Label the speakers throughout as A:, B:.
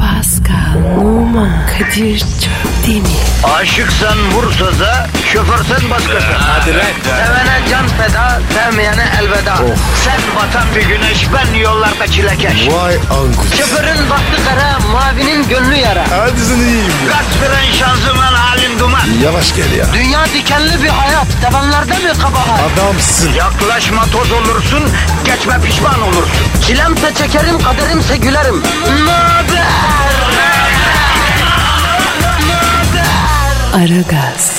A: Pascal, Oman, Kadir çok değil mi?
B: Aşıksan vursa da şoförsen başkasın.
C: Hadi lan. Oh.
B: Sevene can feda, sevmeyene elveda. Sen batan bir güneş, ben yollarda çilekeş.
C: Vay anku.
B: Şoförün baktı kara, mavinin gönlü yara.
C: Hadi sen iyiyim ya.
B: Kasperen şanzıman halin duman.
C: Yavaş gel ya.
B: Dünya dikenli bir hayat, sevenlerde mi kabahar?
C: Adamsın.
B: Yaklaşma toz olursun, geçme pişman olursun. Çilemse çekerim, kaderimse gülerim. Möber!
A: Aragaz,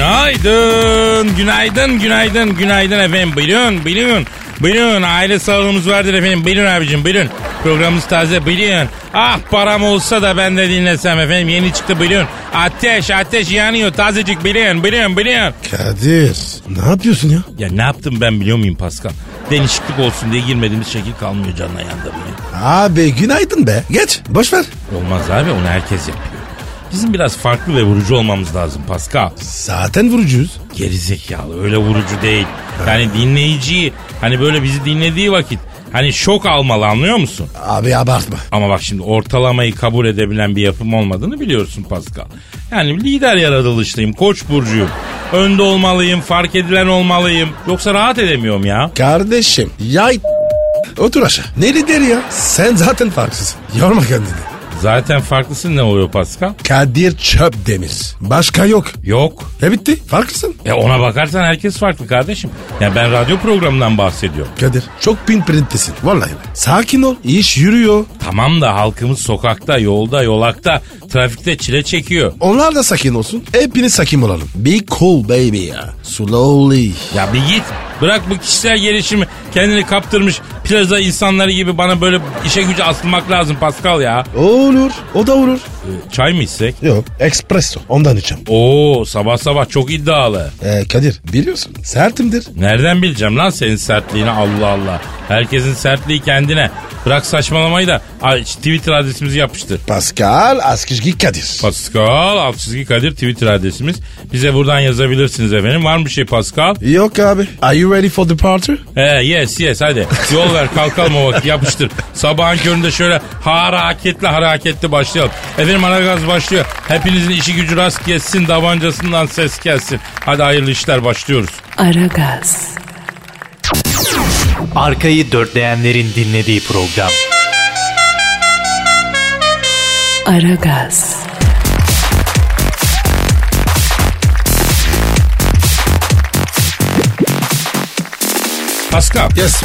D: Günaydın, günaydın, günaydın, günaydın efendim. Bilin, bilin, bilin. Aile sağlığımız vardır efendim. Bilin abicim, bilin. Programımız taze, bilin. Ah param olsa da ben de dinlesem efendim. Yeni çıktı bilin. Ateş, ateş yanıyor. Tazecik bilin, bilin, bilin.
C: Kadir ne yapıyorsun ya?
D: Ya ne yaptım ben biliyor muyum Pascal? Denişiklik olsun diye girmediğimiz şekil kalmıyor canına yandı bile.
C: Abi günaydın be. Geç boş ver.
D: Olmaz abi onu herkes yapıyor. Bizim biraz farklı ve vurucu olmamız lazım Pascal.
C: Zaten vurucuyuz.
D: gerizekalı öyle vurucu değil. Yani dinleyiciyi hani böyle bizi dinlediği vakit hani şok almalı anlıyor musun?
C: Abi abartma.
D: Ama bak şimdi ortalamayı kabul edebilen bir yapım olmadığını biliyorsun Pascal. Yani lider yaratılışlıyım, koç burcuyum. Önde olmalıyım, fark edilen olmalıyım. Yoksa rahat edemiyorum ya.
C: Kardeşim yay Otur aşağı. Ne lideri ya? Sen zaten farksızsın. Yorma kendini.
D: Zaten farklısın ne oluyor Pascal?
C: Kadir Çöp Demir. Başka yok.
D: Yok.
C: Ne bitti? Farklısın.
D: E ona bakarsan herkes farklı kardeşim. Ya ben radyo programından bahsediyorum.
C: Kadir çok bin printisin. Vallahi bak. Sakin ol. İş yürüyor.
D: Tamam da halkımız sokakta, yolda, yolakta, trafikte çile çekiyor.
C: Onlar da sakin olsun. Hepiniz sakin olalım. Be cool baby ya. Slowly.
D: Ya bir git. Bırak bu kişisel gelişimi kendini kaptırmış plaza insanları gibi bana böyle işe güce asılmak lazım Pascal ya.
C: Olur. O da olur.
D: Çay mı içsek?
C: Yok. Espresso. Ondan içeceğim.
D: Oo sabah sabah çok iddialı.
C: Ee, Kadir biliyorsun. Sertimdir.
D: Nereden bileceğim lan senin sertliğini Allah Allah. Herkesin sertliği kendine. Bırak saçmalamayı da Ay, Twitter adresimizi yapıştır.
C: Pascal Askizgi Kadir.
D: Pascal alt çizgi Kadir Twitter adresimiz. Bize buradan yazabilirsiniz efendim. Var mı bir şey Pascal?
C: Yok abi. Are you ready for the party?
D: He yes yes hadi. Yol ver kalkalım o vakit yapıştır. Sabahın köründe şöyle hareketli hareketli başlayalım. Efendim Aragaz başlıyor. Hepinizin işi gücü rast gelsin davancasından ses gelsin. Hadi hayırlı işler başlıyoruz.
A: Aragaz,
E: Arkayı dörtleyenlerin dinlediği program.
A: Aragaz,
D: Pascal
C: Yes.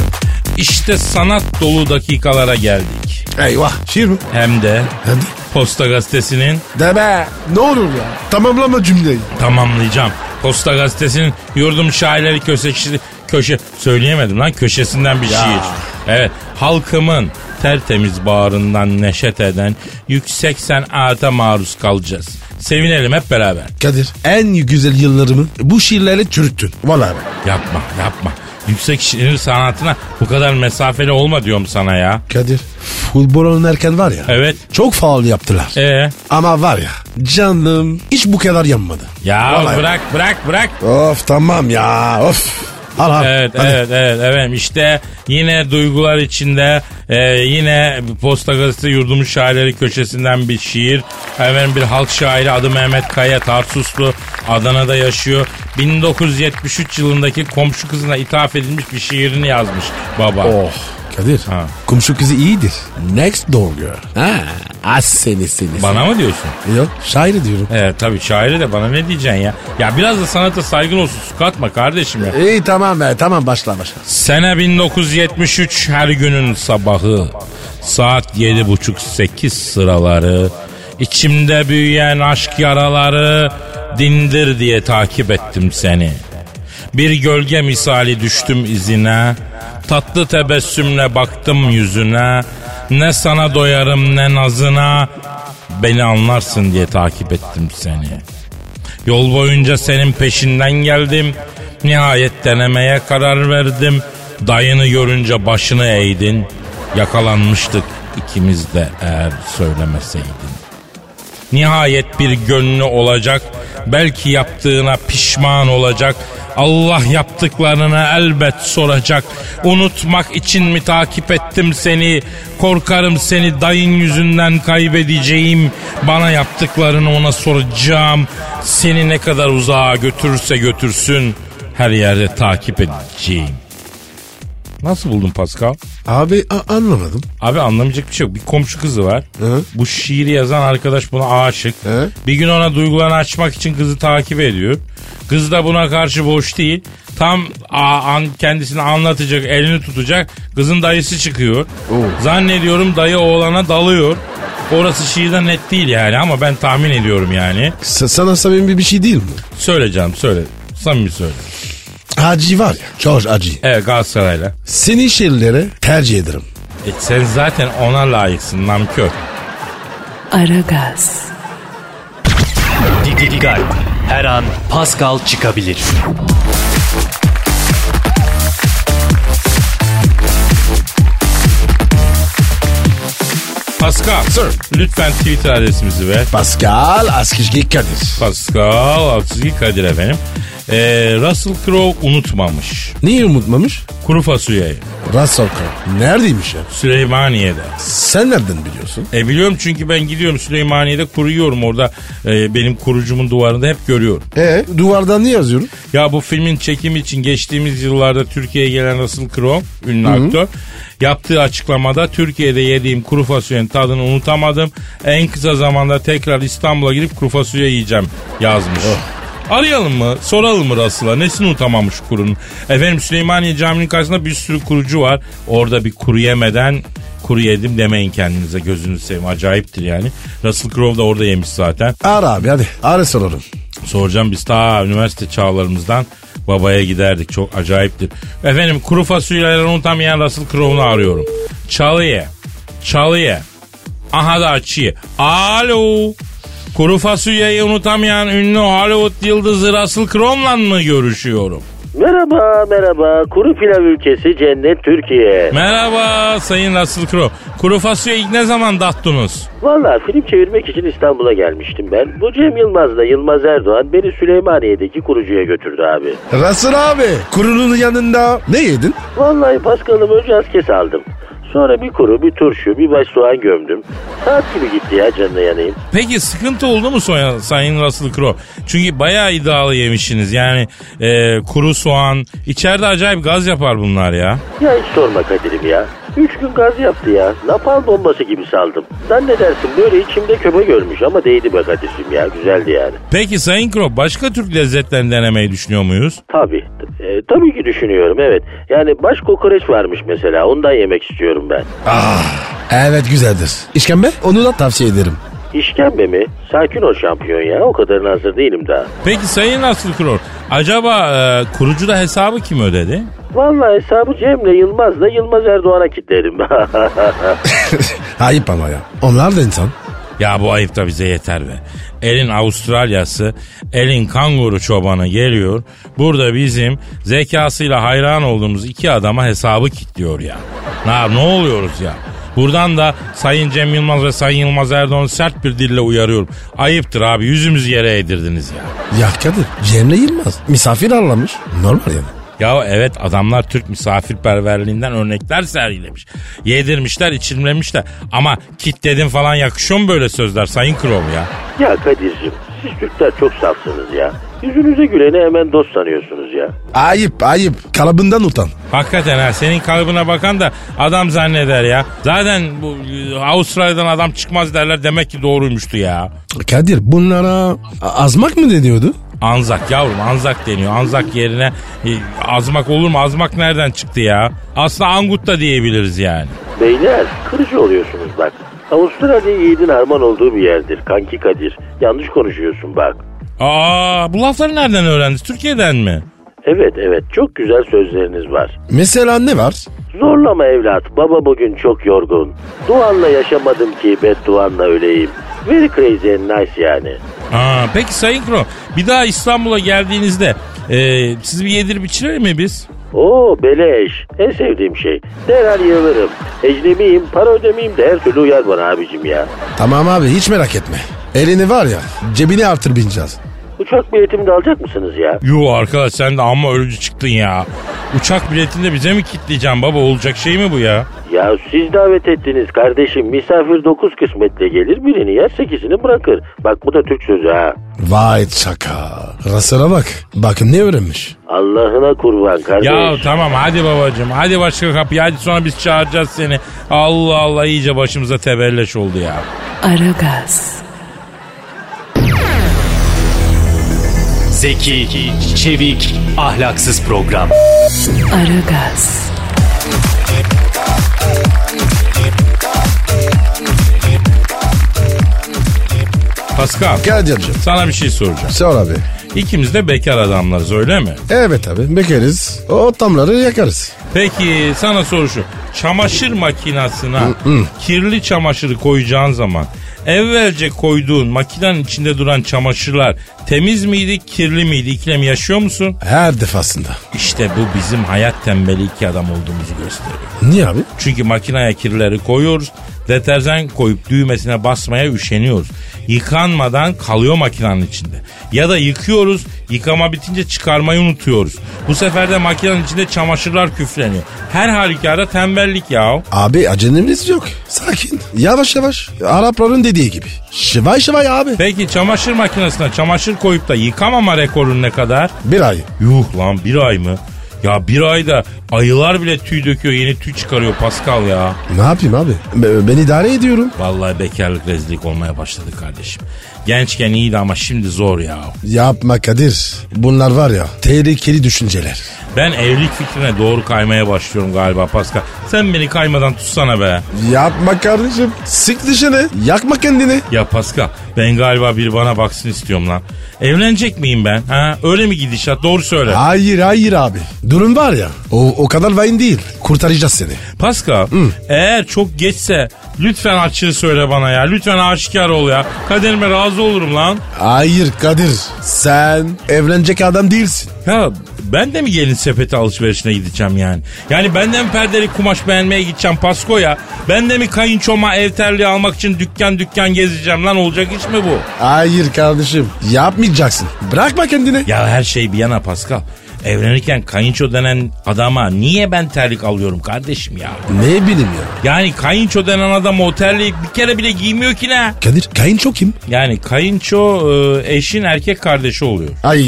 D: işte sanat dolu dakikalara geldik.
C: Eyvah. Şiir mi?
D: Hem de
C: Hadi.
D: Posta Gazetesi'nin
C: Deme. Ne olur ya. Tamamlama cümleyi.
D: tamamlayacağım. Posta Gazetesi'nin yurdum şairleri köşesi, köşe söyleyemedim lan köşesinden bir şiir. Evet halkımın tertemiz bağrından neşet eden yüksek senata maruz kalacağız. Sevinelim hep beraber.
C: Kadir en güzel yıllarımı bu şiirlerle çürüttün. Vallahi bak.
D: Yapma yapma. Yüksek şiir sanatına bu kadar mesafeli olma diyorum sana ya.
C: Kadir futbol oynarken var ya.
D: Evet.
C: Çok faal yaptılar.
D: Ee,
C: Ama var ya canım hiç bu kadar yanmadı.
D: ya
C: Vallahi.
D: bırak bırak bırak.
C: Of tamam ya of. Al al.
D: Evet,
C: Hadi.
D: evet, evet, evet. İşte yine duygular içinde, e, yine Posta Gazetesi Yurdumun Şairleri köşesinden bir şiir. Hemen bir halk şairi adı Mehmet Kaya Tarsuslu, Adana'da yaşıyor. 1973 yılındaki komşu kızına ithaf edilmiş bir şiirini yazmış baba.
C: Oh. Kadir.
D: Ha.
C: Komşu kızı iyidir. Next door girl. Ha. Az seni seni.
D: Bana mı diyorsun?
C: Yok şairi diyorum.
D: Evet tabii şairi de bana ne diyeceksin ya? Ya biraz da sanata saygın olsun su katma kardeşim ya.
C: İyi tamam be tamam başla başla.
D: Sene 1973 her günün sabahı saat yedi buçuk sekiz sıraları içimde büyüyen aşk yaraları dindir diye takip ettim seni. Bir gölge misali düştüm izine tatlı tebessümle baktım yüzüne ne sana doyarım ne nazına beni anlarsın diye takip ettim seni.'' Yol boyunca senin peşinden geldim. Nihayet denemeye karar verdim. Dayını görünce başını eğdin. Yakalanmıştık ikimiz de eğer söylemeseydin. Nihayet bir gönlü olacak. Belki yaptığına pişman olacak. Allah yaptıklarını elbet soracak. Unutmak için mi takip ettim seni? Korkarım seni dayın yüzünden kaybedeceğim. Bana yaptıklarını ona soracağım. Seni ne kadar uzağa götürürse götürsün her yerde takip edeceğim. Nasıl buldun Pascal?
C: Abi a- anlamadım.
D: Abi anlamayacak bir şey yok. Bir komşu kızı var.
C: Hı.
D: Bu şiiri yazan arkadaş buna aşık.
C: Hı.
D: Bir gün ona duygularını açmak için kızı takip ediyor. Kız da buna karşı boş değil. Tam a- an- kendisini anlatacak, elini tutacak. Kızın dayısı çıkıyor.
C: Oo.
D: Zannediyorum dayı oğlana dalıyor. Orası şiirden net değil yani ama ben tahmin ediyorum yani.
C: S- sana samimi bir şey değil mi?
D: Söyle canım söyle. Samimi söyle.
C: Acı var ya. Çok acı.
D: Evet Galatasaray'la.
C: Seni şeylere tercih ederim.
D: E, sen zaten ona layıksın namkör.
A: Aragaz,
E: Didi Digal. Her an Pascal çıkabilir.
D: Pascal.
C: Sir.
D: Lütfen Twitter adresimizi ver.
C: Pascal Askizgi Kadir.
D: Pascal Altçizgi Kadir efendim. Ee, Russell Crowe unutmamış.
C: Niye unutmamış?
D: Kuru fasulyeyi.
C: Russell Crowe. Neredeymiş ya?
D: Süleymaniye'de.
C: Sen nereden biliyorsun?
D: E biliyorum çünkü ben gidiyorum Süleymaniye'de kuru yiyorum orada. e, benim kurucumun duvarında hep görüyorum.
C: E duvardan ne yazıyorum?
D: Ya bu filmin çekimi için geçtiğimiz yıllarda Türkiye'ye gelen Russell Crowe ünlü aktör yaptığı açıklamada Türkiye'de yediğim kuru fasulyenin tadını unutamadım. En kısa zamanda tekrar İstanbul'a gidip kuru fasulye yiyeceğim yazmış. Arayalım mı? Soralım mı Russell'a? Nesini unutamamış kurunun? Efendim Süleymaniye Camii'nin karşısında bir sürü kurucu var. Orada bir kuru yemeden kuru yedim demeyin kendinize gözünüzü seveyim. Acayiptir yani. Russell Crowe da orada yemiş zaten.
C: Ara abi hadi. Ara sorarım.
D: Soracağım biz ta üniversite çağlarımızdan babaya giderdik. Çok acayiptir. Efendim kuru fasulyeleri unutamayan Russell Crowe'nu arıyorum. Çalıya. Çalıya. Aha da açıyı. Alo. Kuru fasulyeyi unutamayan ünlü Hollywood yıldızı Russell Crowe'la mı görüşüyorum?
F: Merhaba merhaba kuru pilav ülkesi cennet Türkiye.
D: Merhaba Sayın Russell Crowe. Kuru fasulye ilk ne zaman tattınız?
F: Valla film çevirmek için İstanbul'a gelmiştim ben. Bu Cem Yılmaz'la Yılmaz Erdoğan beni Süleymaniye'deki kurucuya götürdü abi.
C: Russell abi. Kurunun yanında ne yedin?
F: Vallahi Paskal'ım önce az kes aldım. Sonra bir kuru, bir turşu, bir baş soğan gömdüm. Saat gibi gitti ya canına yanayım.
D: Peki sıkıntı oldu mu soya- Sayın Russell Crowe? Çünkü bayağı iddialı yemişsiniz. Yani e, kuru soğan. içeride acayip gaz yapar bunlar ya.
F: Ya hiç sorma Kadir'im ya. Üç gün gaz yaptı ya. Napalm bombası gibi saldım. Zannedersin böyle içimde köpe görmüş ama değdi be Kadir'cim ya. Güzeldi yani.
D: Peki Sayın Crowe başka Türk lezzetlerini denemeyi düşünüyor muyuz?
F: Tabii. E, tabii ki düşünüyorum evet. Yani baş kokoreç varmış mesela ondan yemek istiyorum ben.
C: Evet güzeldir. İşkembe? Onu da tavsiye ederim.
F: İşkembe mi? Sakin ol şampiyon ya o kadarına hazır değilim daha.
D: Peki Sayın Russell Crowe acaba e, kurucu da hesabı kim ödedi?
F: Vallahi hesabı Cem'le Yılmaz'la Yılmaz Erdoğan'a kilitlerim.
C: Ayıp ama ya. Onlar da insan.
D: Ya bu ayıp da bize yeter be. Elin Avustralyası, elin kanguru çobanı geliyor. Burada bizim zekasıyla hayran olduğumuz iki adama hesabı kilitliyor ya. Na, ne oluyoruz ya? Buradan da Sayın Cem Yılmaz ve Sayın Yılmaz Erdoğan'ı sert bir dille uyarıyorum. Ayıptır abi yüzümüzü yere eğdirdiniz ya.
C: Ya Kadir Cemre Yılmaz misafir ağırlamış. Normal yani.
D: Ya evet adamlar Türk misafirperverliğinden örnekler sergilemiş. Yedirmişler, içirmemişler. Ama kitledin falan yakışıyor mu böyle sözler Sayın Krom ya?
F: ya Kadir'cim siz Türkler çok safsınız ya. Yüzünüze güleni hemen dost sanıyorsunuz ya.
C: Ayıp ayıp. Kalabından utan.
D: Hakikaten ha senin kalıbına bakan da adam zanneder ya. Zaten bu e, Avustralya'dan adam çıkmaz derler demek ki doğruymuştu ya.
C: Kadir bunlara a- azmak mı deniyordu?
D: Anzak yavrum anzak deniyor. Anzak yerine e, azmak olur mu? Azmak nereden çıktı ya? Aslında angut da diyebiliriz yani.
F: Beyler kırıcı oluyorsunuz bak. Avustralya yiğidin harman olduğu bir yerdir kanki Kadir. Yanlış konuşuyorsun bak.
D: Aa bu lafları nereden öğrendiniz? Türkiye'den mi?
F: Evet evet çok güzel sözleriniz var.
C: Mesela ne var?
F: Zorlama evlat baba bugün çok yorgun. Duanla yaşamadım ki bedduanla öleyim. Very crazy and nice yani.
D: Aa, peki Sayın Krom bir daha İstanbul'a geldiğinizde e, sizi bir yedirip içirir mi biz?
F: Oo beleş en sevdiğim şey. Derhal yığılırım. Ecnemiyim para ödemeyeyim de her türlü uyar bana abicim ya.
C: Tamam abi hiç merak etme. Elini var ya cebini artır bineceğiz.
F: Uçak biletimi de alacak mısınız ya?
D: Yuh arkadaş sen de amma ölücü çıktın ya. Uçak biletini de bize mi kitleyeceksin baba? Olacak şey mi bu ya?
F: Ya siz davet ettiniz kardeşim. Misafir dokuz kısmetle gelir birini yer sekizini bırakır. Bak bu da Türk sözü ha.
C: Vay çaka. Rasına bak. Bakın ne öğrenmiş.
F: Allah'ına kurban kardeş.
D: Ya tamam hadi babacığım. Hadi başka kapıya. Hadi sonra biz çağıracağız seni. Allah Allah iyice başımıza tebelleş oldu ya.
A: Aragaz,
E: Zeki, çevik, ahlaksız program.
A: Aragaz,
D: Pascal
C: Gel canım.
D: sana bir şey soracağım.
C: Sor abi.
D: İkimiz de bekar adamlarız öyle mi?
C: Evet abi bekleriz. O otamları yakarız.
D: Peki sana soru şu. Çamaşır makinesine kirli çamaşırı koyacağın zaman evvelce koyduğun makinenin içinde duran çamaşırlar temiz miydi kirli miydi ikilem yaşıyor musun?
C: Her defasında.
D: İşte bu bizim hayat tembeli iki adam olduğumuzu gösteriyor.
C: Niye abi?
D: Çünkü makineye kirleri koyuyoruz. Deterjan koyup düğmesine basmaya üşeniyoruz. Yıkanmadan kalıyor makinenin içinde. Ya da yıkıyoruz, yıkama bitince çıkarmayı unutuyoruz. Bu sefer de makinenin içinde çamaşırlar küfleniyor. Her halükarda tembellik ya.
C: Abi acelemiz yok. Sakin. Yavaş yavaş. Arapların dediği gibi. Şıvay şıvay abi.
D: Peki çamaşır makinesine çamaşır koyup da yıkamama rekorun ne kadar?
C: Bir ay.
D: Yuh lan bir ay mı? Ya bir ayda ayılar bile tüy döküyor yeni tüy çıkarıyor Pascal ya.
C: Ne yapayım abi? Be- ben idare ediyorum.
D: Vallahi bekarlık rezillik olmaya başladı kardeşim. Gençken iyiydi ama şimdi zor ya.
C: Yapma Kadir. Bunlar var ya tehlikeli düşünceler.
D: Ben evlilik fikrine doğru kaymaya başlıyorum galiba Pascal. Sen beni kaymadan tutsana be.
C: Yapma kardeşim. Sık dışını. Yakma kendini.
D: Ya Pascal ben galiba biri bana baksın istiyorum lan. Evlenecek miyim ben? Ha öyle mi gidişat doğru söyle.
C: Hayır hayır abi. Durum var ya. O, o kadar vahim değil. Kurtaracağız seni.
D: Pascal eğer çok geçse lütfen açığı söyle bana ya. Lütfen aşikar ol ya. Kaderime razı olurum lan.
C: Hayır Kadir. Sen evlenecek adam değilsin.
D: Ya ben de mi gelin sepeti alışverişine gideceğim yani? Yani benden mi perdeli kumaş beğenmeye gideceğim Pasko'ya? Ben de mi kayınçoma ev terliği almak için dükkan dükkan gezeceğim lan? Olacak iş mi bu?
C: Hayır kardeşim. Yapmayacaksın. Bırakma kendini.
D: Ya her şey bir yana Pascal. Evlenirken kayınço denen adama niye ben terlik alıyorum kardeşim ya?
C: Ne bileyim ya.
D: Yani kayınço denen adam o terliği bir kere bile giymiyor ki ne?
C: Kadir kayınço kim?
D: Yani kayınço e, eşin erkek kardeşi oluyor.
C: Ay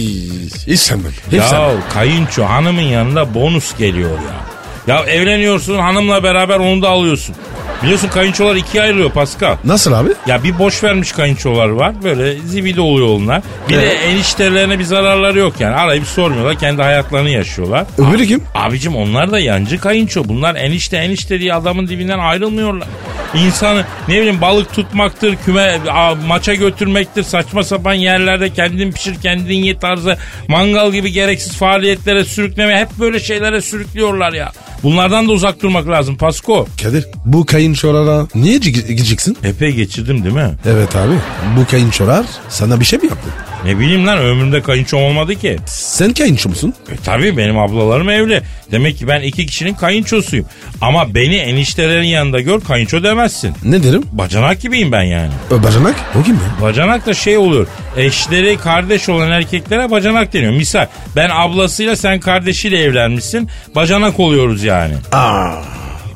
C: hiç sanmam. Hiç
D: Ya
C: sanmam.
D: kayınço hanımın yanında bonus geliyor ya. Ya evleniyorsun hanımla beraber onu da alıyorsun. Biliyorsun kayınçolar ikiye ayrılıyor Pascal.
C: Nasıl abi?
D: Ya bir boş vermiş kayınçolar var. Böyle zibidi oluyor onlar. Bir de eniştelerine bir zararları yok yani. Arayıp sormuyorlar. Kendi hayatlarını yaşıyorlar.
C: Öbürü kim?
D: Abicim onlar da yancı kayınço. Bunlar enişte enişte diye adamın dibinden ayrılmıyorlar. İnsanı ne bileyim balık tutmaktır, küme a- maça götürmektir, saçma sapan yerlerde kendin pişir kendin ye tarzı mangal gibi gereksiz faaliyetlere sürükleme hep böyle şeylere sürüklüyorlar ya. Bunlardan da uzak durmak lazım Pasko.
C: Kadir bu kayınçolara niye gi- gideceksin?
D: Epey geçirdim değil mi?
C: Evet abi. Bu kayınçolar sana bir şey mi yaptı?
D: Ne bileyim lan ömrümde kayınçom olmadı ki.
C: Sen kayınço musun?
D: E tabii benim ablalarım evli. Demek ki ben iki kişinin kayınçosuyum. Ama beni eniştelerin yanında gör kayınço demezsin.
C: Ne derim?
D: Bacanak gibiyim ben yani.
C: Ö, Bacanak? O kim ya?
D: Bacanak da şey oluyor. Eşleri kardeş olan erkeklere bacanak deniyor. Misal ben ablasıyla sen kardeşiyle evlenmişsin. Bacanak oluyoruz yani.
C: Aa,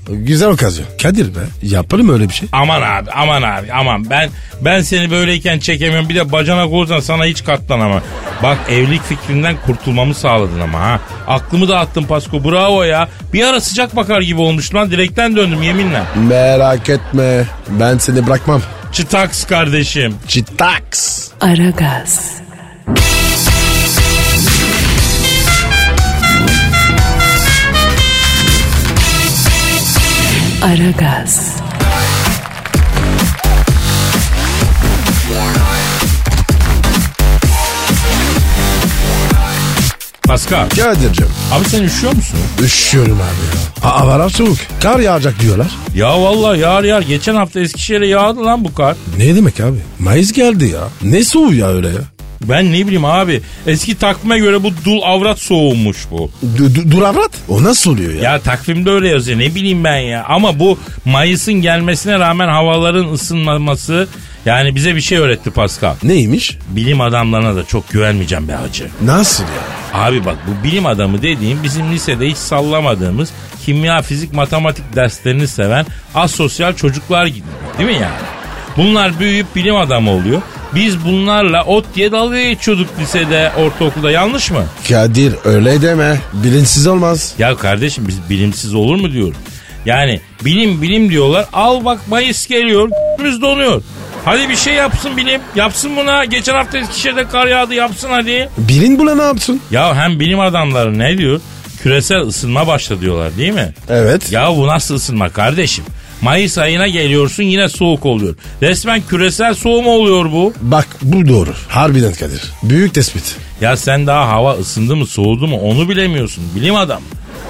C: güzel okazyon. Kadir be yaparım öyle bir şey.
D: Aman abi aman abi aman ben ben seni böyleyken çekemiyorum. Bir de bacanak olursan sana hiç katlanamam. Bak evlilik fikrinden kurtulmamı sağladın ama ha. Aklımı da attın Pasko bravo ya. Bir ara sıcak bakar gibi olmuş lan direkten döndüm yeminle.
C: Merak etme ben seni bırakmam.
D: Çıtaks kardeşim.
C: Çitaks.
A: Aragaz, Aragaz,
D: Pascal
C: Kadir'cim
D: abi sen üşüyor musun?
C: üşüyorum abi ya. Aa var soğuk. Kar yağacak diyorlar.
D: Ya vallahi yağar yağar. Geçen hafta Eskişehir'e yağdı lan bu kar.
C: Ne demek abi? Mayıs geldi ya. Ne soğuğu ya öyle ya?
D: Ben ne bileyim abi. Eski takvime göre bu dul avrat soğumuş bu.
C: Du- du- dur avrat. O nasıl oluyor ya?
D: Ya takvimde öyle yazıyor ne bileyim ben ya. Ama bu Mayıs'ın gelmesine rağmen havaların ısınmaması Yani bize bir şey öğretti Pascal.
C: Neymiş?
D: Bilim adamlarına da çok güvenmeyeceğim be hacı.
C: Nasıl ya?
D: Abi bak bu bilim adamı dediğim bizim lisede hiç sallamadığımız kimya, fizik, matematik derslerini seven asosyal çocuklar gibi. Değil mi yani? Bunlar büyüyüp bilim adamı oluyor. Biz bunlarla ot diye dalga geçiyorduk lisede, ortaokulda yanlış mı?
C: Kadir öyle deme. Bilinçsiz olmaz.
D: Ya kardeşim biz bilimsiz olur mu diyorum. Yani bilim bilim diyorlar. Al bak Mayıs geliyor. Biz donuyor. Hadi bir şey yapsın bilim. Yapsın buna. Geçen hafta Eskişehir'de kar yağdı. Yapsın hadi.
C: Bilin buna ne yapsın?
D: Ya hem bilim adamları ne diyor? Küresel ısınma başladı diyorlar değil mi?
C: Evet.
D: Ya bu nasıl ısınma kardeşim? Mayıs ayına geliyorsun yine soğuk oluyor. Resmen küresel soğuma oluyor bu.
C: Bak bu doğru. Harbiden Kadir. Büyük tespit.
D: Ya sen daha hava ısındı mı soğudu mu onu bilemiyorsun. Bilim adam.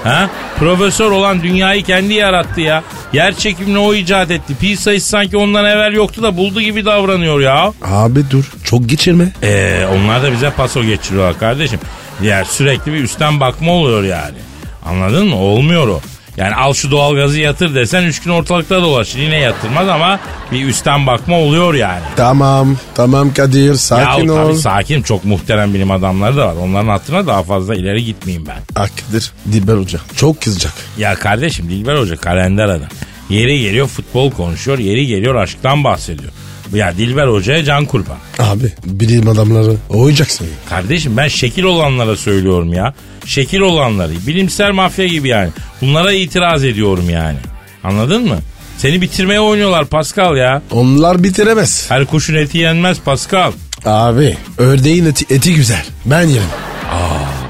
D: Ha? Profesör olan dünyayı kendi yarattı ya. Yer çekimini o icat etti. Pi sayısı sanki ondan evvel yoktu da buldu gibi davranıyor ya.
C: Abi dur. Çok geçirme.
D: Ee, onlar da bize paso geçiriyorlar kardeşim. Yani sürekli bir üstten bakma oluyor yani. Anladın mı? Olmuyor o. Yani al şu doğalgazı yatır desen üç gün ortalıkta dolaşır. Yine yatırmaz ama bir üstten bakma oluyor yani.
C: Tamam. Tamam Kadir. Sakin
D: ya
C: ol.
D: tabii sakin çok muhterem bilim adamları da var. Onların hattına daha fazla ileri gitmeyeyim ben.
C: Ah Kadir. Dilber Hoca. Çok kızacak.
D: Ya kardeşim Dilber Hoca kalender adam. Yeri geliyor futbol konuşuyor, yeri geliyor aşktan bahsediyor. Ya Dilber Hoca'ya can kurban.
C: Abi bilim adamları oynayacaksın.
D: Kardeşim ben şekil olanlara söylüyorum ya. Şekil olanları. Bilimsel mafya gibi yani. Bunlara itiraz ediyorum yani. Anladın mı? Seni bitirmeye oynuyorlar Pascal ya.
C: Onlar bitiremez.
D: Her kuşun eti yenmez Pascal.
C: Abi ördeğin eti, eti güzel. Ben yerim.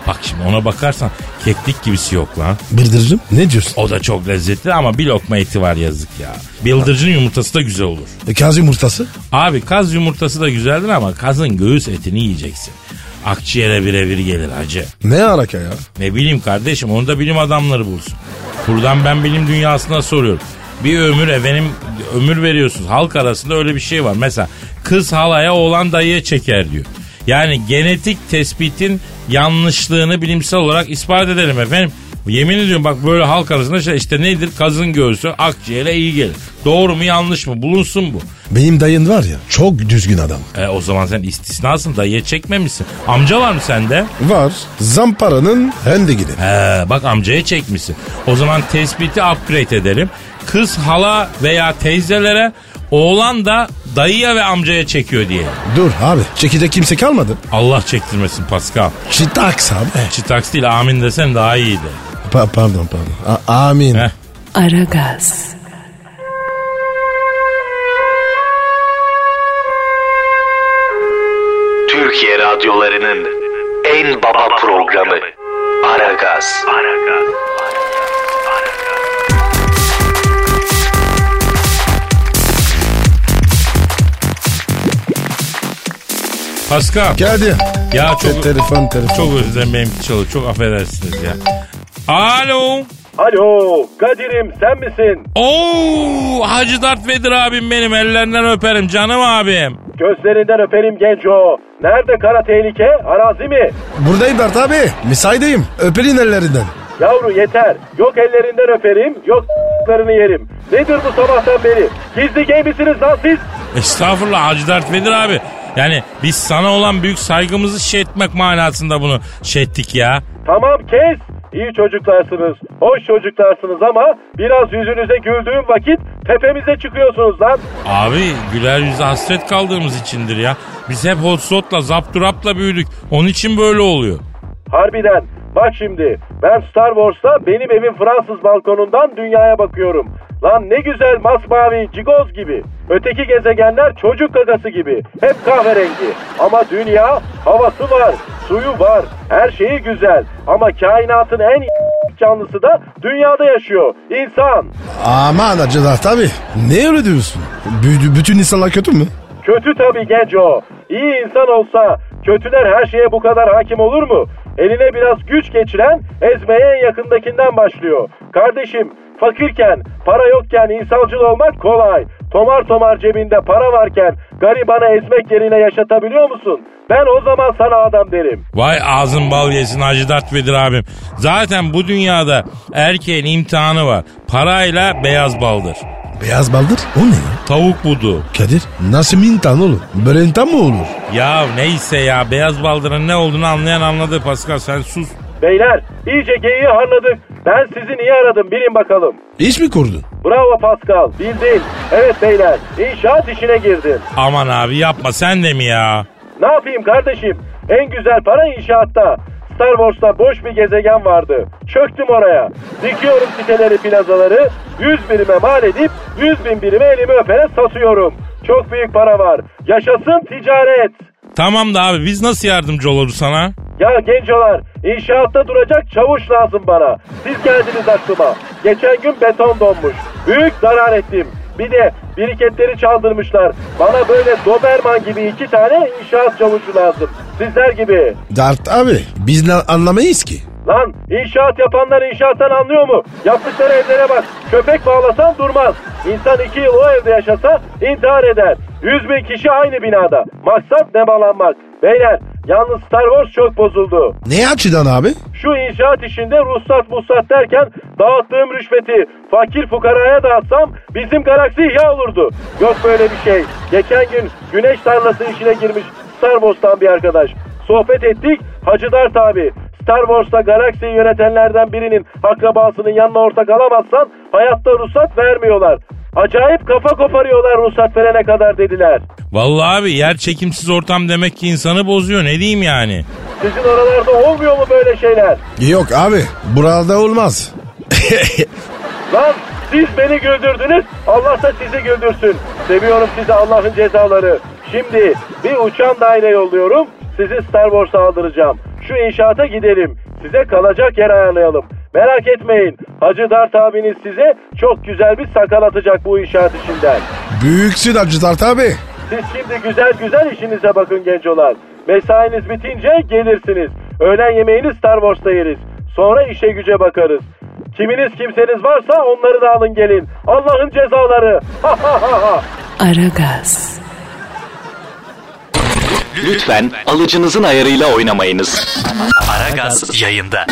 D: Bak şimdi ona bakarsan keklik gibisi yok lan.
C: Bıldırcım ne diyorsun?
D: O da çok lezzetli ama bir lokma eti var yazık ya. Bıldırcın yumurtası da güzel olur.
C: E, Kaz yumurtası?
D: Abi kaz yumurtası da güzeldir ama kazın göğüs etini yiyeceksin. Akciğere birebir gelir hacı.
C: Ne alaka ya?
D: Ne bileyim kardeşim onu da bilim adamları bulsun. Buradan ben bilim dünyasına soruyorum. Bir ömür efendim ömür veriyorsunuz. Halk arasında öyle bir şey var. Mesela kız halaya oğlan dayıya çeker diyor. Yani genetik tespitin yanlışlığını bilimsel olarak ispat edelim efendim. Yemin ediyorum bak böyle halk arasında şey işte nedir? Kazın göğsü akciğere iyi gelir. Doğru mu yanlış mı? Bulunsun bu.
C: Benim dayın var ya çok düzgün adam.
D: E, o zaman sen istisnasın dayıya çekmemişsin. Amca var mı sende?
C: Var. Zamparanın hendegini.
D: He, bak amcaya çekmişsin. O zaman tespiti upgrade edelim. Kız hala veya teyzelere oğlan da dayıya ve amcaya çekiyor diye.
C: Dur abi çekecek kimse kalmadı.
D: Allah çektirmesin Pascal.
C: Çitaks abi.
D: Çitaks değil amin desen daha iyiydi.
C: Pa- pardon pardon. A- amin.
D: Heh.
A: Aragaz,
E: Türkiye radyolarının en baba programı Aragaz.
D: Pascal.
C: Geldi.
D: Ya
C: Te-
D: çok,
C: telefon telefon.
D: çok özür dilerim benimki çalıyor. Çok affedersiniz ya. Alo.
F: Alo Kadir'im sen misin?
D: Oo, Hacı Dert Vedir abim benim ellerinden öperim canım abim.
F: Gözlerinden öperim genco. Nerede kara tehlike? Arazi mi?
C: Buradayım Bert abi. Misaydayım. Öperin ellerinden.
F: Yavru yeter. Yok ellerinden öperim, yok s**larını yerim. Nedir bu sabahtan beri? Gizli gay misiniz lan siz?
D: Estağfurullah Hacı Dert Vedir abi. Yani biz sana olan büyük saygımızı şey etmek manasında bunu şey ettik ya.
F: Tamam kes. İyi çocuklarsınız, hoş çocuklarsınız ama biraz yüzünüze güldüğüm vakit tepemize çıkıyorsunuz lan.
D: Abi güler yüze hasret kaldığımız içindir ya. Biz hep hotsotla, zapturapla büyüdük. Onun için böyle oluyor.
F: Harbiden. Bak şimdi ben Star Wars'ta benim evin Fransız balkonundan dünyaya bakıyorum. Lan ne güzel masmavi cigoz gibi. Öteki gezegenler çocuk kakası gibi. Hep kahverengi. Ama dünya havası var, suyu var, her şeyi güzel. Ama kainatın en canlısı da dünyada yaşıyor. İnsan.
C: Aman Hacı Dert abi. Ne öyle diyorsun? Büyüdü, bütün insanlar kötü mü?
F: Kötü tabii genco. İyi insan olsa kötüler her şeye bu kadar hakim olur mu? Eline biraz güç geçiren ezmeye en yakındakinden başlıyor. Kardeşim fakirken, para yokken insancıl olmak kolay. Tomar tomar cebinde para varken garibana ezmek yerine yaşatabiliyor musun? Ben o zaman sana adam derim.
D: Vay ağzın bal yesin Hacı Dert Vedir abim. Zaten bu dünyada erkeğin imtihanı var. Parayla beyaz baldır.
C: Beyaz baldır. O ne ya?
D: Tavuk budu.
C: Kadir nasıl mintan oğlum? Böyle mintan mı olur?
D: Ya neyse ya beyaz baldırın ne olduğunu anlayan anladı Pascal sen sus.
F: Beyler iyice geyiği harladık. Ben sizi niye aradım bilin bakalım.
C: İş mi kurdun?
F: Bravo Pascal bildin. Evet beyler inşaat işine girdin.
D: Aman abi yapma sen de mi ya?
F: Ne yapayım kardeşim? En güzel para inşaatta. Star Wars'ta boş bir gezegen vardı. Çöktüm oraya. Dikiyorum siteleri plazaları. 100 birime mal edip 100 bin birime elimi öpene satıyorum. Çok büyük para var. Yaşasın ticaret.
D: Tamam da abi biz nasıl yardımcı oluruz sana?
F: Ya gencolar inşaatta duracak çavuş lazım bana. Siz geldiniz aklıma. Geçen gün beton donmuş. Büyük zarar ettim. Bir de biriketleri çaldırmışlar. Bana böyle Doberman gibi iki tane inşaat çavuşu lazım. Sizler gibi.
C: Dert abi biz ne anlamayız ki.
F: Lan inşaat yapanlar inşaattan anlıyor mu? Yaptıkları evlere bak. Köpek bağlasan durmaz. İnsan iki yıl o evde yaşasa intihar eder. Yüz bin kişi aynı binada. Maksat nemalanmak. Beyler yalnız Star Wars çok bozuldu.
C: Ne açıdan abi?
F: Şu inşaat işinde ruhsat musat derken dağıttığım rüşveti fakir fukaraya dağıtsam bizim galaksi ihya olurdu. Yok böyle bir şey. Geçen gün güneş tarlası işine girmiş Star Wars'tan bir arkadaş. Sohbet ettik Hacı Dert abi. Star Wars'ta galaksiyi yönetenlerden birinin akrabasının yanına ortak alamazsan hayatta ruhsat vermiyorlar. Acayip kafa koparıyorlar ruhsat verene kadar dediler.
D: Vallahi abi yer çekimsiz ortam demek ki insanı bozuyor ne diyeyim yani.
F: Sizin oralarda olmuyor mu böyle şeyler?
C: Yok abi burada olmaz.
F: Lan siz beni güldürdünüz, Allah da sizi güldürsün. Seviyorum sizi Allah'ın cezaları. Şimdi bir uçan daire yolluyorum, sizi Star Wars'a aldıracağım. Şu inşaata gidelim, size kalacak yer ayarlayalım. Merak etmeyin, Hacı Dert abiniz size çok güzel bir sakal atacak bu inşaat işinden.
C: Büyüksün Hacı Dert abi.
F: Siz şimdi güzel güzel işinize bakın gencolar. Mesainiz bitince gelirsiniz. Öğlen yemeğini Star Wars'ta yeriz. Sonra işe güce bakarız. Kiminiz kimseniz varsa onları da alın gelin. Allah'ın cezaları. Ha ha ha ha.
A: Aragaz.
E: Lütfen alıcınızın ayarıyla oynamayınız. Aragaz yayında.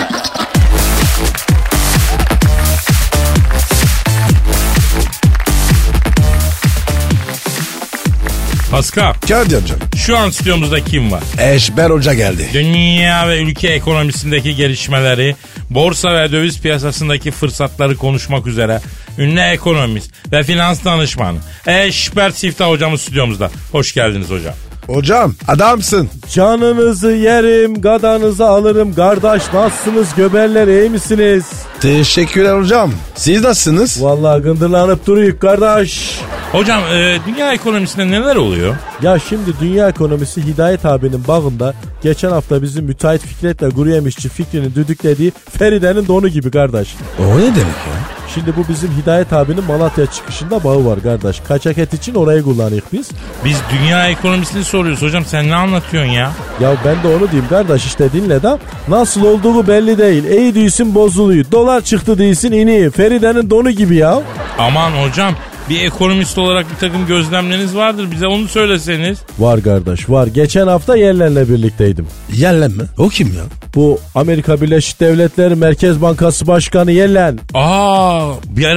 D: Pascal
C: Kadir hocam.
D: şu an stüdyomuzda kim var?
C: Eşber Hoca geldi.
D: Dünya ve ülke ekonomisindeki gelişmeleri, borsa ve döviz piyasasındaki fırsatları konuşmak üzere ünlü ekonomist ve finans danışmanı Eşber Siftah hocamız stüdyomuzda. Hoş geldiniz hocam.
C: Hocam adamsın.
F: Canınızı yerim, gadanızı alırım. Kardeş nasılsınız göberler iyi misiniz?
C: Teşekkürler hocam. Siz nasılsınız?
F: Vallahi gındırlanıp duruyuk kardeş.
D: Hocam e, dünya ekonomisinde neler oluyor?
G: Ya şimdi dünya ekonomisi Hidayet abinin bağında geçen hafta bizim müteahhit Fikret'le kuru yemişçi Fikri'nin düdüklediği Feride'nin donu gibi kardeş.
C: O ne demek ya?
G: Şimdi bu bizim Hidayet abinin Malatya çıkışında bağı var kardeş. Kaçak et için orayı kullanıyoruz biz.
D: Biz dünya ekonomisini soruyoruz hocam sen ne anlatıyorsun ya?
G: Ya ben de onu diyeyim kardeş işte dinle de. Nasıl olduğu belli değil. İyi değilsin bozuluyor. Dolar çıktı değilsin iniyor. Feride'nin donu gibi ya.
D: Aman hocam bir ekonomist olarak bir takım gözlemleriniz vardır bize onu söyleseniz.
G: Var kardeş var. Geçen hafta yerlerle birlikteydim.
C: Yellen mi? O kim ya?
G: Bu Amerika Birleşik Devletleri Merkez Bankası Başkanı Yellen
D: Aa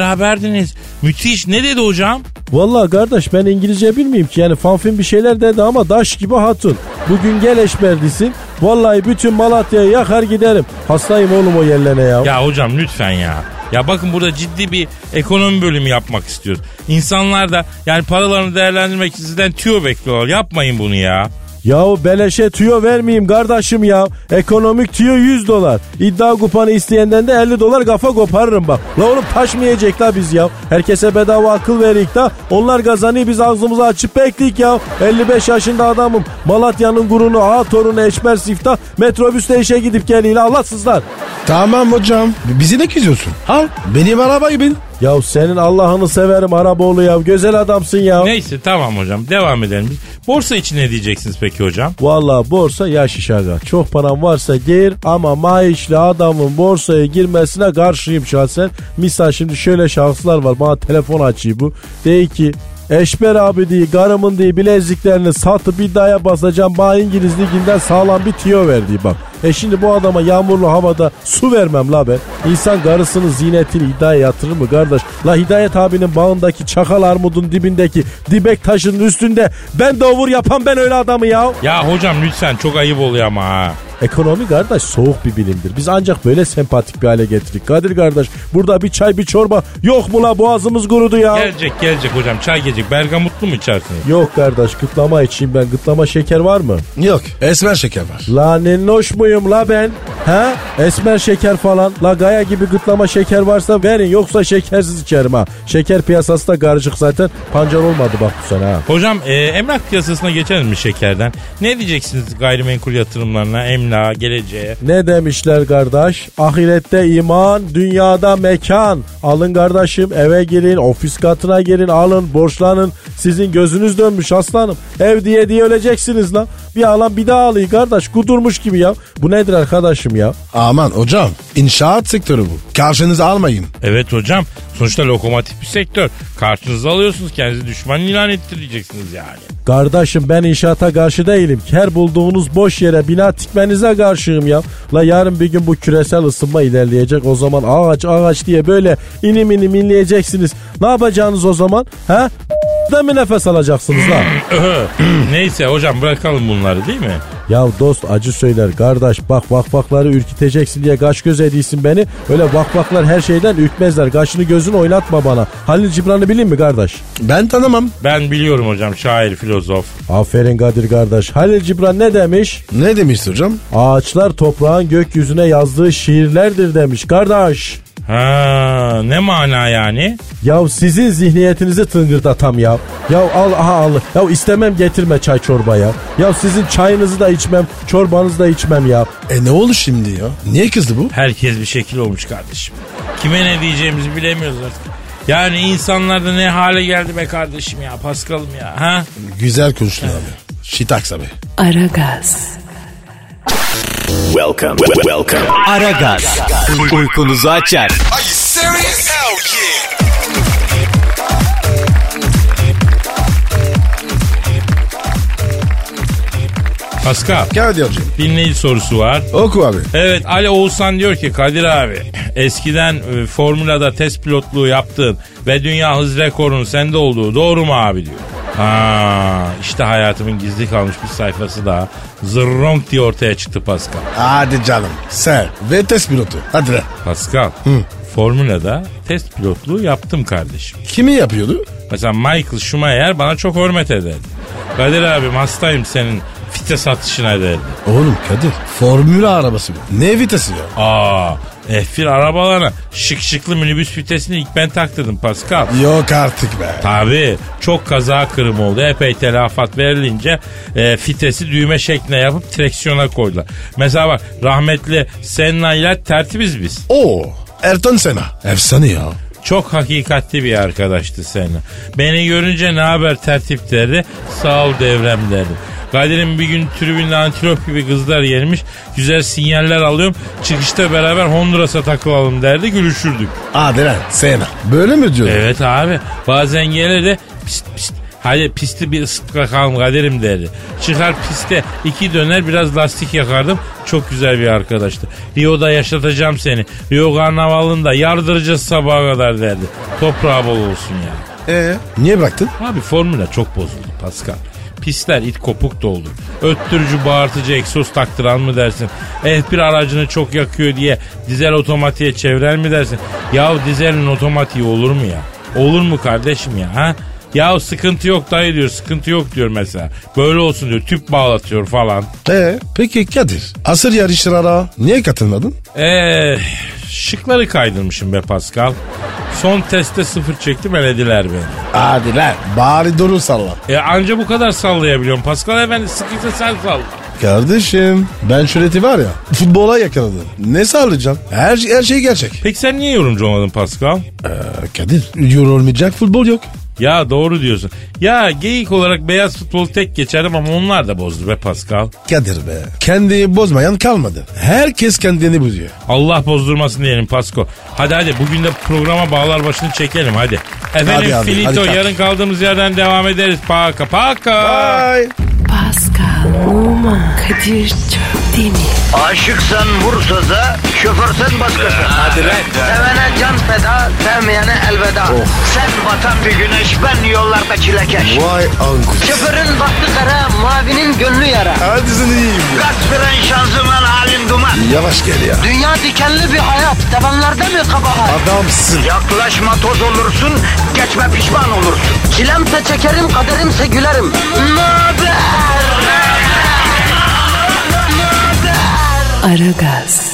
D: beraberdiniz müthiş ne dedi hocam?
G: Vallahi kardeş ben İngilizce bilmeyeyim ki yani fanfin bir şeyler dedi ama daş gibi hatun. Bugün gel eşberdisin. Vallahi bütün Malatya'yı yakar giderim. Hastayım oğlum o yerlene ya.
D: Ya hocam lütfen ya. Ya bakın burada ciddi bir ekonomi bölümü yapmak istiyoruz. İnsanlar da yani paralarını değerlendirmek için sizden tüyo bekliyorlar. Yapmayın bunu ya.
G: Yahu beleşe tüyo vermeyeyim kardeşim ya. Ekonomik tüyo 100 dolar. İddia kupanı isteyenden de 50 dolar kafa koparırım bak. La oğlum taşmayacak la biz ya. Herkese bedava akıl verik da onlar kazanıyor biz ağzımızı açıp bekledik ya. 55 yaşında adamım. Malatya'nın gurunu, ağa torunu, eşmer sifta metrobüste işe gidip geliyle Allahsızlar.
C: Tamam hocam. Bizi ne kızıyorsun? Al benim arabayı bin.
G: Ya senin Allah'ını severim Araboğlu ya. Güzel adamsın ya.
D: Neyse tamam hocam devam edelim. biz. Borsa için ne diyeceksiniz peki hocam?
G: Valla borsa yaş iş aga. Çok paran varsa gir ama maaşlı adamın borsaya girmesine karşıyım şahsen. Misal şimdi şöyle şahıslar var. Bana telefon açıyor bu. Dey ki Eşber abi diye karımın diye bileziklerini satıp iddiaya basacağım. Bana İngiliz liginden sağlam bir tiyo verdi bak. E şimdi bu adama yağmurlu havada su vermem la ben. İnsan karısının ziynetini iddiaya yatırır mı kardeş? La Hidayet abinin bağındaki çakal armudun dibindeki dibek taşının üstünde ben davur yapan ben öyle adamı ya.
D: Ya hocam lütfen çok ayıp oluyor ama ha.
G: Ekonomi kardeş soğuk bir bilimdir. Biz ancak böyle sempatik bir hale getirdik. Kadir kardeş burada bir çay bir çorba yok mu la boğazımız kurudu ya.
D: Gelecek gelecek hocam çay gelecek. Bergamotlu mu içersiniz?
G: Yok kardeş gıtlama içeyim ben. Gıtlama şeker var mı?
C: Yok esmer şeker var.
G: La nennoş muyum la ben? Ha? Esmer şeker falan. La gaya gibi gıtlama şeker varsa verin yoksa şekersiz içerim ha. Şeker piyasası da karışık zaten. Pancar olmadı bak bu sene ha.
D: Hocam e, emlak piyasasına geçelim mi şekerden? Ne diyeceksiniz gayrimenkul yatırımlarına, emlağa, geleceğe?
G: Ne demişler kardeş? Ahirette iman, dünyada mekan. Alın kardeşim eve girin, ofis katına girin, alın, borçlanın. Sizin gözünüz dönmüş aslanım. Ev diye diye öleceksiniz lan. Bir alan bir daha alıyor kardeş. Kudurmuş gibi ya. Bu nedir arkadaşım ya?
C: Aman hocam inşaat sektörü bu. Karşınıza almayın.
D: Evet hocam sonuçta lokomotif bir sektör. Karşınıza alıyorsunuz kendinizi düşman ilan ettireceksiniz yani.
G: Kardeşim ben inşaata karşı değilim. Her bulduğunuz boş yere bina tikmenize karşıyım ya. La yarın bir gün bu küresel ısınma ilerleyecek. O zaman ağaç ağaç diye böyle inim inim inleyeceksiniz. Ne yapacaksınız o zaman? He? Da mı nefes alacaksınız lan?
D: Neyse hocam bırakalım bunları değil mi?
G: Ya dost acı söyler kardeş bak vakvakları ürküteceksin diye kaş göz ediyorsun beni. Öyle vakvaklar her şeyden ürkmezler. Kaşını gözünü oynatma bana. Halil Cibran'ı bilin mi kardeş?
C: Ben tanımam.
D: Ben biliyorum hocam şair, filozof.
G: Aferin Kadir kardeş. Halil Cibran ne demiş?
C: Ne demişti hocam?
G: Ağaçlar toprağın gökyüzüne yazdığı şiirlerdir demiş kardeş.
D: Ha ne mana yani?
G: Ya sizin zihniyetinizi tıngırdatam ya. Ya al aha al. Ya istemem getirme çay çorba ya. Ya sizin çayınızı da içmem, çorbanızı da içmem ya.
C: E ne oldu şimdi ya? Niye kızdı bu?
D: Herkes bir şekil olmuş kardeşim. Kime ne diyeceğimizi bilemiyoruz artık. Yani insanlar da ne hale geldi be kardeşim ya Paskal'ım ya ha?
C: Güzel konuştun abi. Şitaks abi.
A: Aragaz,
E: Welcome. Welcome. Aragaz. Uykunuzu açar.
D: Paskal
C: Gel hocam.
D: dinleyici sorusu var.
C: Oku abi.
D: Evet Ali Oğuzhan diyor ki Kadir abi eskiden e, formülada test pilotluğu yaptığın ve dünya hız rekorunun sende olduğu doğru mu abi diyor. Ha işte hayatımın gizli kalmış bir sayfası daha zırronk diye ortaya çıktı Pascal.
C: Hadi canım. Sen ve test pilotu. Hadi lan.
D: Pascal formülada test pilotluğu yaptım kardeşim.
C: Kimi yapıyordu?
D: Mesela Michael Schumacher bana çok hürmet ederdi. Kadir abim hastayım senin vites atışına derdi.
C: Oğlum Kadir. Formül arabası bu. Ne vitesi ya?
D: Aa F1 arabalarına şık şıklı minibüs vitesini ilk ben taktırdım Pascal.
C: Yok artık be.
D: Tabii çok kaza kırım oldu. Epey telafat verilince e, fitesi düğme şekline yapıp direksiyona koydular. Mesela bak rahmetli Senna ile tertibiz biz.
C: Oo. Ertan Sena. Efsane ya.
D: Çok hakikatli bir arkadaştı Senna. Beni görünce ne haber tertip derdi. Sağ ol devrem derdi. Kadir'im bir gün tribünde antilop gibi kızlar gelmiş. Güzel sinyaller alıyorum. Çıkışta beraber Honduras'a takılalım derdi. Gülüşürdük.
C: Hadi lan Sena. Böyle mi diyorsun?
D: Evet abi. Bazen gelir de pist pist. Hadi pisti bir ısıt bakalım kaderim derdi. Çıkar piste iki döner biraz lastik yakardım. Çok güzel bir arkadaştı. Rio'da yaşatacağım seni. Rio karnavalında yardıracağız sabaha kadar derdi. Toprağı bol olsun ya.
C: Ee, niye bıraktın?
D: Abi formüle çok bozuldu Pascal. Pistler it kopuk doldu. Öttürücü bağırtıcı egzoz taktıran mı dersin? F1 aracını çok yakıyor diye dizel otomatiğe çeviren mi dersin? Yahu dizelin otomatiği olur mu ya? Olur mu kardeşim ya? Ha? Ya sıkıntı yok dayı diyor sıkıntı yok diyor mesela. Böyle olsun diyor tüp bağlatıyor falan.
C: Ee, peki Kadir. Asır yarışlara niye katılmadın?
D: Eee Eh, şıkları kaydırmışım be Pascal. Son testte sıfır çektim elediler beni.
C: Hadi lan. Bari dolu salla.
D: E anca bu kadar sallayabiliyorum. Pascal efendi sıkıysa sen salla.
C: Kardeşim ben şüreti var ya futbola yakaladım. Ne sağlayacaksın? Her, her şey gerçek.
D: Peki sen niye yorumcu olmadın Pascal?
C: Ee, Kadir yorulmayacak futbol yok.
D: Ya doğru diyorsun. Ya geyik olarak beyaz futbolu tek geçerim ama onlar da bozdu be Pascal.
C: Kadir be. Kendini bozmayan kalmadı. Herkes kendini bozuyor.
D: Allah bozdurmasın diyelim Pasko. Hadi hadi bugün de programa bağlar başını çekelim hadi. Efendim
C: Hadi abi,
D: Filito
C: hadi kalk.
D: yarın kaldığımız yerden devam ederiz. Paka paka.
C: Bye.
A: Pascal, Oman, Kadir çok değil mi?
B: Aşıksan vursa da, şoförsen başkasın. Hadi Sevene can feda, sevmeyene elveda. Sen batan bir güneş, ben yollarda çilekeş.
C: Vay anku.
B: Şoförün baktı kara, mavinin gönlü yara.
C: Hadi sen iyiyim ya.
B: Kasperen şanzıman halin duman.
C: Yavaş gel ya.
B: Dünya dikenli bir hayat, sevenlerde mi kabahar?
C: Adamsın.
B: Yaklaşma toz olursun, geçme pişman olursun. Çilemse çekerim, kaderimse gülerim. Möber!
A: Aragaz.